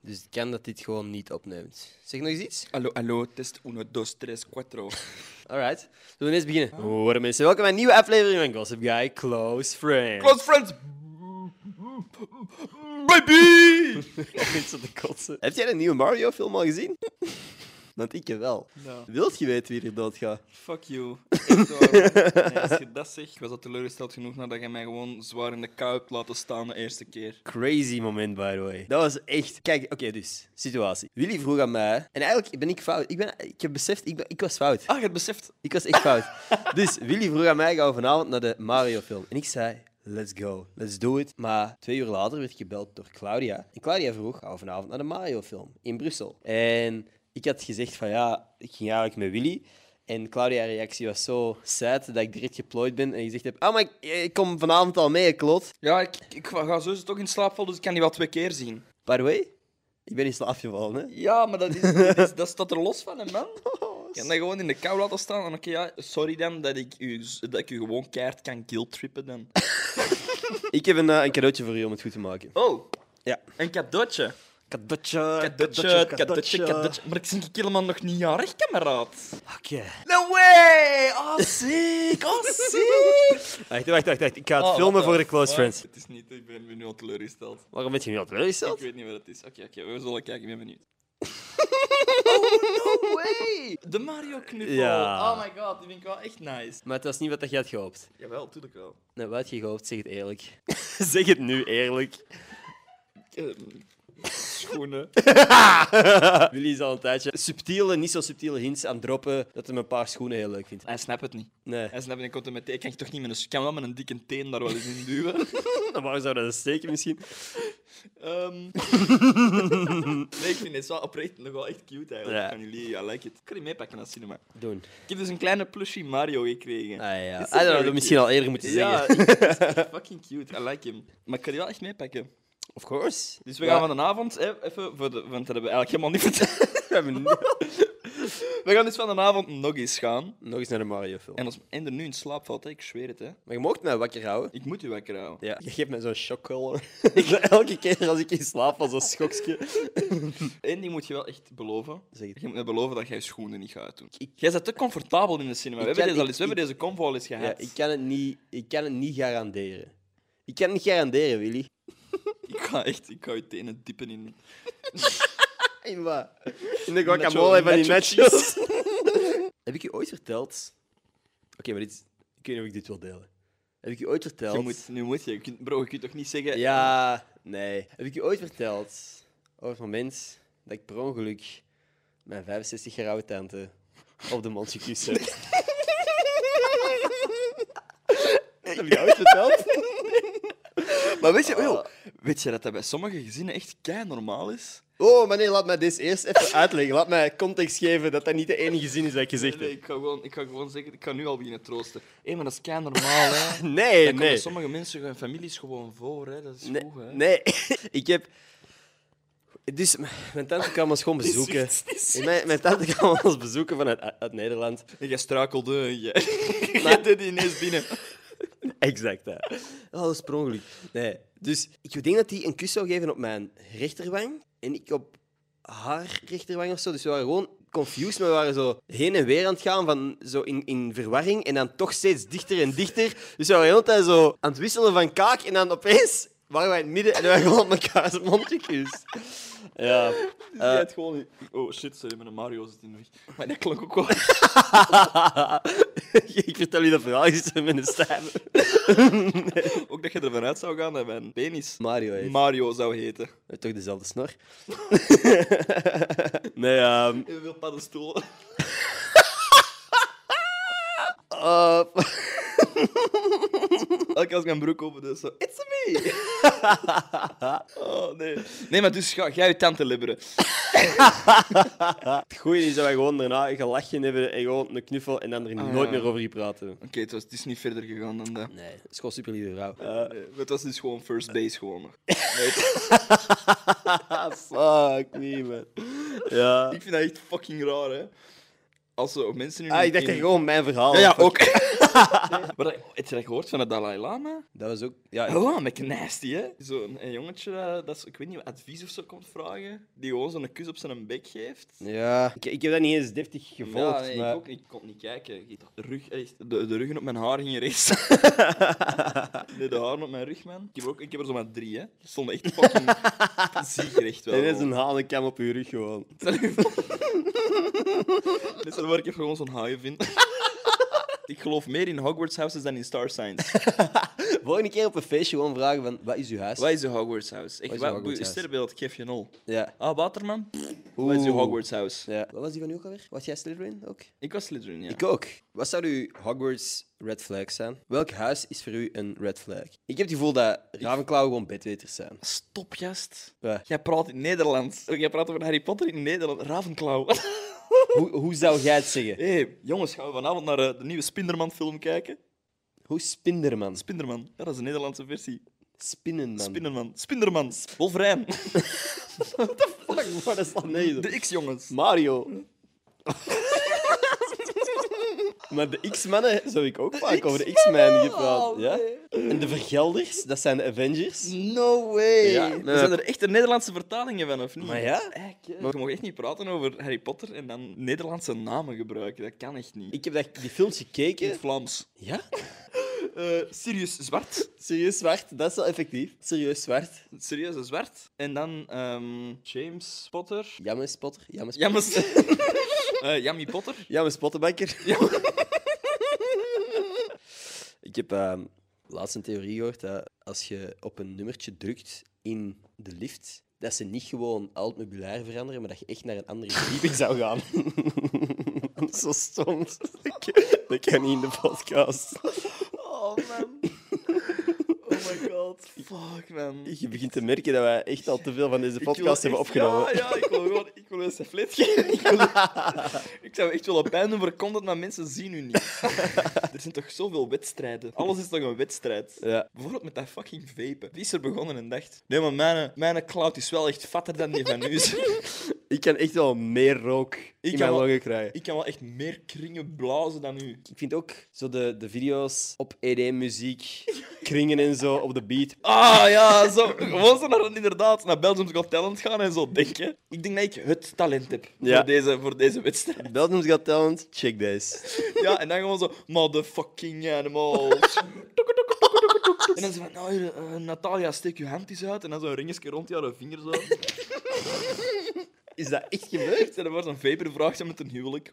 Dus het kan dat dit gewoon niet opneemt. Zeg nog eens iets? Hallo, hallo, test 1, 2, 3, 4. Alright. Zullen we eens beginnen? Horen mensen, welkom bij een nieuwe aflevering van Gossip Guy Close Friends. Close friends! Baby! Mensen te kotsen. Heb jij de nieuwe Mario-film al gezien? Want ik wel. Nou, Wilt je weten wie er doodgaat? fuck you. Echt waar. Nee, als je dat zegt, was dat teleurgesteld genoeg nadat je mij gewoon zwaar in de kou hebt laten staan de eerste keer. Crazy moment, by the way. Dat was echt... Kijk, oké, dus. Situatie. Willy vroeg aan mij... En eigenlijk ben ik fout. Ik, ben, ik heb beseft, ik, ben- ik was fout. Ah, je hebt beseft. Ik was echt fout. dus Willy vroeg aan mij, gaan we vanavond naar de Mario-film? En ik zei, let's go, let's do it. Maar twee uur later werd ik gebeld door Claudia. En Claudia vroeg, gaan we vanavond naar de Mario-film in Brussel? En ik had gezegd van, ja, ik ging eigenlijk met Willy. En Claudia's reactie was zo sad dat ik direct geplooid ben en gezegd heb, ah, maar ik, ik kom vanavond al mee, klot. Ja, ik, ik ga sowieso toch in slaap vallen, dus ik kan die wel twee keer zien. By the way, ik ben in slaap gevallen, hè? Ja, maar dat, is, dat, is- dat staat er los van, hè, man. Je kan dat gewoon in de kou laten staan. En oké, ja, sorry dan dat ik, u, dat ik u gewoon keihard kan guilt-trippen dan. Ik heb een, eh, een cadeautje voor u om het goed te maken. Oh, Ja. een cadeautje. Cadeautje, Cadeautje, cadeautje, cadeautje. Maar ik zit helemaal nog niet jarig, kameraad. Oké. No way! Oh, sick! Oh, sick! Wacht, wacht, wacht, wacht. Ik ga het Ah, filmen voor de close friends. Het is niet, ik ben nu al teleurgesteld. Waarom ben je nu al Ik teleurgesteld? weet niet wat het is. Oké, oké, we zullen kijken, ik ben benieuwd. oh, no way! De Mario knuffel. Ja. Oh my god, die vind ik wel echt nice. Maar het was niet wat dat je had gehoopt. Jawel, tuurlijk wel. Nou, wat had je gehoopt, zeg het eerlijk. zeg het nu eerlijk. Ehm, schoenen. Willy is al een tijdje subtiele, niet zo subtiele hints aan het droppen dat hij een paar schoenen heel leuk vindt. Hij snapt het niet. Nee. Hij snapt het niet. Komt er met ik kan je toch niet met een, ik kan wel met een dikke teen daar wel eens in duwen. Waarom zou dat steken misschien? Ehm. nee, ik vind het wel oprecht nog wel echt cute eigenlijk. Ja. Van jullie, I like it. Ik kan die meepakken naar cinema. Doen. Ik heb dus een kleine plushie Mario gekregen. Ah ja, Is I dat don't know, leuk? dat misschien al eerder moeten ja, zeggen. ik- het is echt fucking cute. I like him. Maar ik kan die wel echt meepakken. Of course. Dus we gaan van vanavond hè, even, voor de, want dat hebben we eigenlijk helemaal niet verteld. We gaan dus vanavond nog eens gaan. Nog eens naar de Mario-film. En als mijn er nu in slaap valt, hè, ik zweer het hè. Maar je mocht mij wakker houden. Ik moet u wekker houden. Ja. Je geeft mij zo'n shockcolor. Elke keer als ik in slaap was, zo'n schokje. Eén ding moet je wel echt beloven. Zeg het. Je moet me beloven dat jij je schoenen niet gaat doen. Jij zit te comfortabel in de cinema. We Ik kan- hebben, deze, al ik- eens, we hebben deze combo al eens Ja, gehad. ik kan het niet, ik kan het niet garanderen. Ik kan het niet garanderen, Willy. Ik ga echt, ik ga je tenen diepen in. In wat? In de guacamole van die nachos. Heb ik je ooit verteld... Oké, maar dit... Ik weet niet of ik dit wil delen. Heb ik je ooit verteld... Je moet, nu moet je. je. kunt- Bro, je kunt toch niet zeggen. Ja, nee. Heb ik je ooit verteld over het moment dat ik per ongeluk mijn 65 jaar oude tante op de mond gekust heb? Heb ik je ooit verteld? Maar weet je, oh, weet je dat dat bij sommige gezinnen echt kei normaal is? Oh, maar nee, laat mij dit eerst even uitleggen. Laat mij context geven dat dat niet de enige zin is dat ik gezegd Nee, heb. ik ga gewoon, ik ga gewoon zeggen, ik ga nu al beginnen troosten. Hé, maar dat is kei normaal, hè? Nee, Dat komt bij nee. sommige mensen hun families gewoon voor, hè? Dat is Nee, goed, hè? nee. ik heb. Dus m- mijn tante kwam ons gewoon bezoeken. Mijn, mijn tante kwam ons bezoeken vanuit uit Nederland. En jij struikelde en jij. jij deed die ineens binnen. Exact, hè. Oh, dat is per ongeluk. Nee. Dus ik denk dat hij een kus zou geven op mijn rechterwang en ik op haar rechterwang of zo. Dus we waren gewoon confused, maar we waren zo heen en weer aan het gaan, van zo in, in verwarring en dan toch steeds dichter en dichter. Dus we waren de hele tijd zo aan het wisselen van kaak en dan opeens waren wij in het midden en we waren gewoon op elkaar zijn mondje gekust. Ja. Jij had gewoon... Oh shit, sorry, mijn Mario zit in de weg. Maar dat klonk ook wel. ik vertel je dat verhaal, je zit met een stijve. ook dat je ervan uit zou gaan dat mijn penis Mario heeft Mario zou heten. toch dezelfde snor. nee, ehm, Heel veel paddenstoelen. eh, Elke keer als ik mijn broek open doe, zo... It's me! oh, nee. Nee, maar dus ga jij je tante libberen. Het goede is dat wij gewoon daarna gelachen hebben en gewoon een knuffel en dan er nooit ja. meer over gepraten. Oké, het, was- het is niet verder gegaan dan dat. Ah, Nee, het is gewoon super lieve vrouw. Nee, het was dus gewoon Eh. first base gewoon nog. Nee, het- fuck me, man. Ja. ik vind dat echt fucking raar, hè. als zo mensen nu... Ah, in- ik dacht in- dat je Oh, gewoon mijn verhaal. Ja, ja, had. ook. maar dat- heb je dat gehoord van de Dalai Lama? Dat was ook... Ja, Dalai Lama, nasty, hè? Zo'n een jongetje eh, dat, dat, zo- ik weet niet, advies of zo komt vragen, die gewoon zo'n kus op zijn bek geeft. ja. Ik, ik heb dat niet eens deftig gevolgd, ja, nee, maar... ik, ook, niet. ik kon niet kijken. Ik- De, rug, echt, de, de ruggen op mijn haar gingen rechts. nee, de haren op mijn rug, man. Ik heb, ook, ik heb er zomaar drie, hè. Die stonden echt fucking ziek recht wel. Dit is een hanenkam op je rug gewoon. Dit is waar ik even gewoon zo'n haai vind. ik geloof meer in Hogwarts houses dan in Star Signs. Volgende keer op een feestje gewoon vragen van, wat is uw huis? Wat is je Hogwarts house? Wat Echt, is uw wat Hogwarts boe- house? sterrenbeeld, ik geef je nul. Ja. Ah, Waterman? Wat is je Oeh. Hogwarts house? ja. Wat was die van u ook alweer? Was jij Slytherin ook? Ik was Slytherin, ja. Ik ook. Wat zou uw Hogwarts red flag zijn? Welk huis is voor u een red flag? Ik heb het gevoel dat Ravenclaw gewoon bedweters zijn. Stop, juist. Ja. Jij praat in Nederlands. Oh, Jij praat over Harry Potter in Nederland. Ravenclaw. Hoe, hoe zou jij het zeggen? Hé, hey, jongens, gaan we vanavond naar eh, de nieuwe Spinderman-film kijken? Hoe Spinderman? Spinderman, ja, dat is de Nederlandse versie. Spinnenman. Spinderman, Spinderman, Wolverijn, Fuck, maar dat is dan nee. de X-jongens. Mario. maar de X-mannen zou ik ook vaak over de Oh, X-men gepraat. Ja? En de vergelders, dat zijn de Avengers. No way. Ja, eh, Er zijn er echt de Nederlandse vertalingen van, of niet? Maar ja. Echt, hè. je mag echt niet praten over Harry Potter en dan Nederlandse namen gebruiken. Dat kan echt niet. Ik heb dat, die films in het gekeken. Vlaams. Ja? Eh, Sirius Zwart. Serieus zwart, dat is wel effectief. Serieus zwart. Serieuze Zwart. En dan ehm, James Potter. Jammer spotter. Jammer spotter. Jammes. Eh Jammy Potter. Ja, mijn spottenbakker. ik heb ehm, laatst een theorie gehoord dat als je op een nummertje drukt in de lift, dat ze niet gewoon al het meubilair veranderen, maar dat je echt naar een andere verdieping zou gaan. Zo stom. Dat kan niet in de podcast. Oh, man. Oh my god. Fuck, man. Je begint te merken dat wij echt al te veel van deze Ik wil podcast hebben echt- opgenomen. Ja, ja, ik wil gewoon ik wil een saflet geven. Ik, wil, ik zou echt willen pijn doen voor content, maar mensen zien u niet. er zijn toch zoveel wedstrijden. Alles is toch een wedstrijd. Eh, Ja. Bijvoorbeeld met dat fucking vapen. Die is er begonnen en dacht... Nee, maar mijn, mijn cloud is wel echt vatter dan die van u. Ik kan echt wel meer rook in kan mijn wel- longen krijgen. ik kan wel echt meer kringen blazen dan u. Ik vind ook zo de, de video's op ED-muziek, kringen en zo op de beat. Ah, ja, zo. Gewoon zo naar, inderdaad, naar Belgium's Got Talent gaan en zo denken. Ik denk dat ik het talent heb Ja. voor, deze, voor deze wedstrijd. Belgium's Got Talent, check this. Ja, en dan gewoon zo, motherfucking animals. en dan zo van, nou, hier, eh, Natalia, steek je hand eens uit. En dan zo'n ringetje rond je vinger zo. Is dat echt gebeurd? en dan wordt zo'n vaper vraagt met een huwelijk.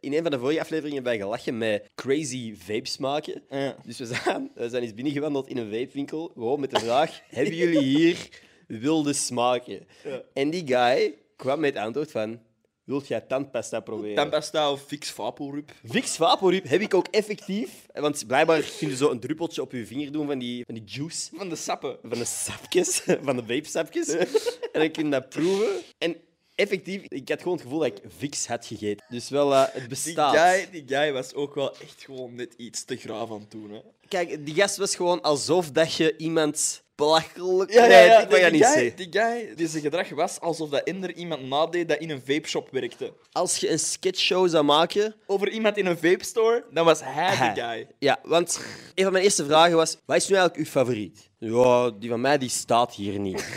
In een van de vorige afleveringen hebben wij gelachen met crazy vapes maken. Ja. Dus we zijn, we zijn eens binnengewandeld in een vapewinkel, gewoon met de vraag, hebben jullie hier wilde smaken? Ja. En die guy kwam met het antwoord van, wilt jij tandpasta proberen? Tempesta of Fix Vaporup. Vicks Vaporub heb ik ook effectief. Want blijkbaar kun je zo een druppeltje op je vinger doen van die, van die juice. Van de sappen. van de sapjes, van de vapesapjes. en dan kun je dat proeven. En effectief, ik had gewoon het gevoel dat ik Vicks had gegeten. Dus wel, eh, het Die bestaat. guy, die guy was ook wel echt gewoon net iets te graaf aan toen, hè. Kijk, die gast was gewoon alsof dat je iemand belachelijk... Nee, ik die, mag dat niet guy, zeggen. die guy, die zijn gedrag was alsof dat inder iemand nadeed dat in een vapeshop werkte. Als je een sketchshow zou maken... Over iemand in een vapestore, dan was hij de Hij. guy. Ja, want een van mijn eerste vragen was... Wat is nu eigenlijk uw favoriet? Ja, die van mij die staat hier niet.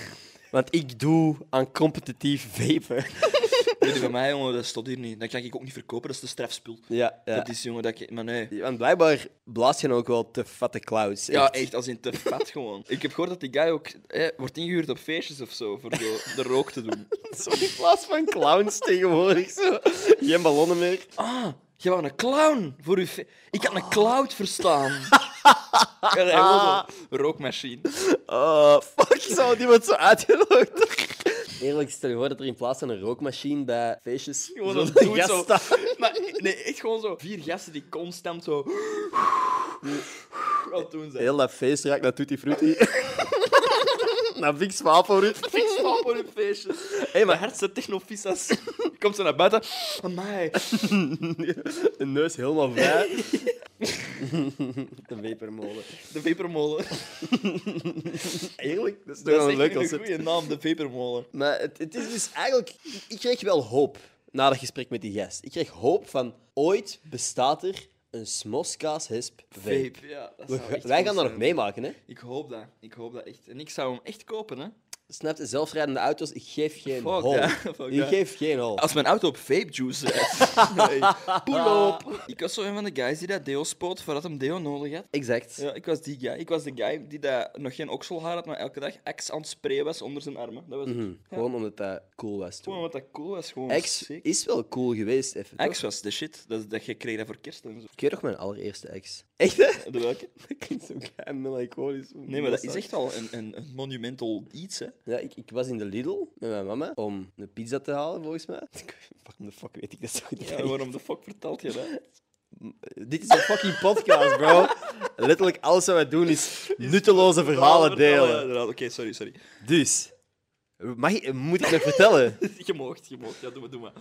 Want ik doe aan competitief vapen. Nee, die van mij, jongen, dat stond hier niet. Dat kan ik ook niet verkopen, dat is te strafspul. Ja, ja. Dat is, jongen, dat ik... Maar nee. Want blijkbaar blaast je ook wel te fatte clouds. Ja, echt, als in te vet gewoon. Ik heb gehoord dat die guy ook eh, wordt ingehuurd op feestjes of zo, voor de, de rook te doen. Zo in plaats van clowns tegenwoordig. Zo. Geen ballonnen meer. Ah, jij wou een clown voor uw fe- Ik had een clown verstaan. En hij was een rookmachine. Oh, fuck, zou die wordt zo uitgelokt. Eerlijk, stel je voor dat er in plaats van een rookmachine bij feestjes Gewoon zo'n een dude gast zo. staat. Maar nee, echt gewoon zo. Vier gasten die constant zo... Wat doen ze? Heel dat feest raakt naar Tutti Frutti. naar Vic Swaapelrut. Ik slaap op hun feestjes. Hé, mijn hartse technofissas. Komt ze naar buiten. Amai. Een neus helemaal vrij. De wepermolen. De vapormolen. Eerlijk, dat is toch Dat wel is een leuk echt een concept. goede naam, de vapormolen. Maar het, het is dus eigenlijk... Ik kreeg wel hoop na dat gesprek met die gast. Ik kreeg hoop van ooit bestaat er een smoskaashesp vape. Vape, ja. dat We zou ga- echt wij goed gaan dat zijn. nog meemaken, hè? Ik hoop dat. Ik hoop dat echt. En ik zou hem echt kopen, hè. Snap je? Zelfrijdende auto's, ik geef geen Fuck hol. dat, fuck ik dat. geef geen hol. Als mijn auto op vape juice rijdt. nee, pull op. Ik was zo een van de guys die dat deo spoot voordat hem deo nodig had. Exact. Ja, ik was die guy. Ik was de guy die dat nog geen okselhaar had, maar elke dag ex aan het sprayen was onder zijn armen. Dat was het. Mhm. Gewoon omdat dat cool was Gewoon toen. wat dat cool was, gewoon Ex sick. is wel cool geweest, even. toch? Ex was de shit. Dat, dat je kreeg dat voor kerst en zo. Ik weet nog mijn allereerste ex. Echt, hè? De welke? Dat klinkt zo klein melancholisch. Nee, maar dat is echt al een, een, een monumental iets, hè. Ja, ik, ik was in de Lidl met mijn mama om een pizza te halen, volgens mij. Ik- Waarom de fuck weet ik dat zo goed? Ja, waarom de fuck vertelt je dat? Dit is een fucking podcast, bro. Letterlijk alles wat wij doen is nutteloze verhalen Vertellen, delen. inderdaad. Oké, sorry, sorry. Dus, mag ik- moet ik nog vertellen? Je moogt, je moogt. Ja, doe maar, doe maar.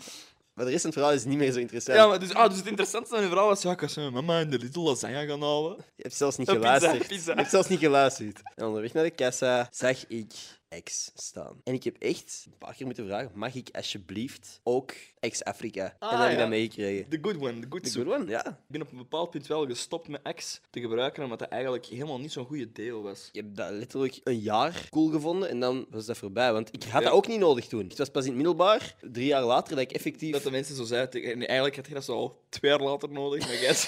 Maar de rest van het verhaal is niet meer zo interessant. Ja, maar dus, ah, dus het interessante aan je verhaal was, ja, ik was met mijn mama in de Lidl lasagne gaan halen. Je hebt zelfs niet Een pizza, geluisterd. pizza. Je hebt zelfs niet geluisterd. En onderweg naar de kassa zag ik ex staan. En ik heb echt een paar keer moeten vragen, mag ik alsjeblieft ook ex-Afrika? Ah, en dan heb ik ja. dat meegekregen. The good one, the good The soup. good one, ja. Ik ben op een bepaald punt wel gestopt met X te gebruiken, omdat dat eigenlijk helemaal niet zo'n goede deel was. Ik heb dat letterlijk een jaar cool gevonden en dan was dat voorbij. Want ik had Ja. dat ook niet nodig toen. Het was pas in het middelbaar, drie jaar later, dat ik effectief... Dat de mensen zo zeiden, tegen- en eigenlijk had je dat zo al twee jaar later nodig, maar jij is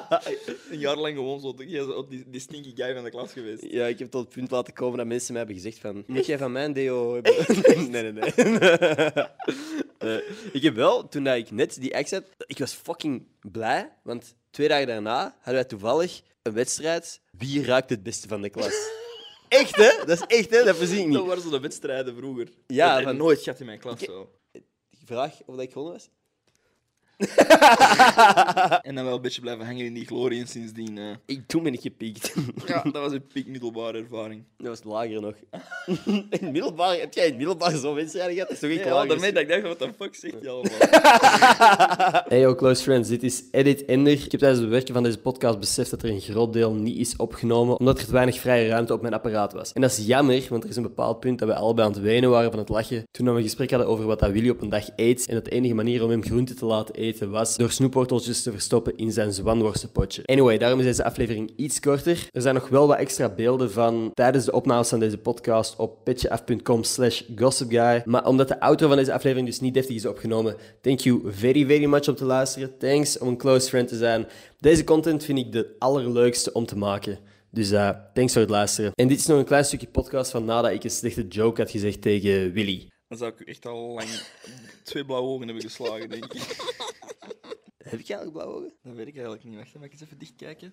een jaar lang gewoon zo, jij is ook die, die stinky guy van de klas geweest. Ja, ik heb tot het punt laten komen dat mensen mij hebben gezegd van... Moet jij van mijn deo hebben? nee, nee, nee. Eh, ik heb wel, toen dat ik net die ex had... Ik was fucking blij, want twee dagen daarna hadden wij toevallig een wedstrijd. Wie ruikt het beste van de klas? echt, hè? Dat is echt, hè? Dat voorzie ik Dat niet. waren zo de wedstrijden vroeger. Ja, dat, van- en nooit gaat in mijn klas zo. Ik vraag of dat ik gewonnen was. En dan wel een beetje blijven hangen in die glorie en sindsdien... eh, Ik, toen ben ik gepiekt. ja, dat was een piek middelbare ervaring. dat was lager nog. in het middelbaar... Heb jij in het middelbaar zo'n wedstrijd gehad? Dat is toch echt Ja, lager? daarmee dat ik dacht, wat de fuck zegt hij allemaal? Hey yo, close friends, dit is Edit Ender. Ik heb tijdens het werken van deze podcast beseft dat er een groot deel niet is opgenomen, omdat er te weinig vrije ruimte op mijn apparaat was. En dat is jammer, want er is een bepaald punt dat we allebei aan het wenen waren van het lachen toen we een gesprek hadden over wat dat Willy op een dag eet en dat de enige manier om hem groente te laten eten was door snoepworteltjes te verstoppen in zijn zwanworstenpotje. Anyway, daarom is deze aflevering iets korter. Er zijn nog wel wat extra beelden van tijdens de opnames van deze podcast op petjeaf.com slash gossipguy. Maar omdat de outro van deze aflevering dus niet deftig is opgenomen, thank you very very much om te luisteren. Thanks om een close friend te zijn. Deze content vind ik de allerleukste om te maken. Dus eh, thanks voor het luisteren. En dit is nog een klein stukje podcast van nadat ik een slechte joke had gezegd tegen Willy. Dan zou ik u echt al lang twee blauwe ogen hebben geslagen, denk ik. Heb ik eigenlijk blauwe ogen? Dat weet ik eigenlijk niet. Wacht, hè, mag ik eens even dichtkijken?